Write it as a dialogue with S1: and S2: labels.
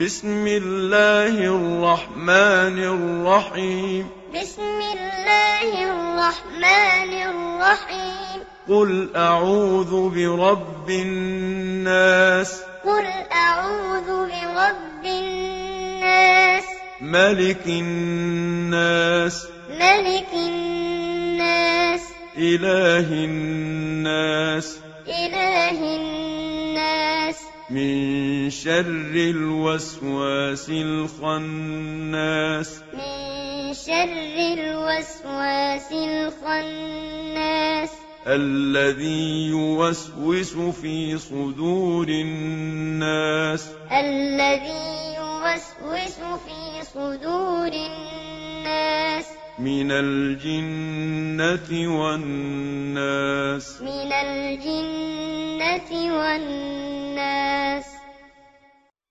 S1: بِسْمِ اللَّهِ الرَّحْمَٰنِ الرَّحِيمِ
S2: بسم الله الرحمن الرحيم
S1: قُلْ أَعُوذُ بِرَبِّ النَّاسِ
S2: قل أعوذ برب الناس
S1: مَلِكِ النَّاسِ
S2: ملك الناس
S1: إِلَٰهِ النَّاسِ
S2: إله الناس
S1: من شر الوسواس الخناس
S2: من شر الوسواس الخناس
S1: الذي يوسوس في صدور الناس
S2: الذي يوسوس في صدور الناس
S1: من الجنة والناس
S2: من الجنة والناس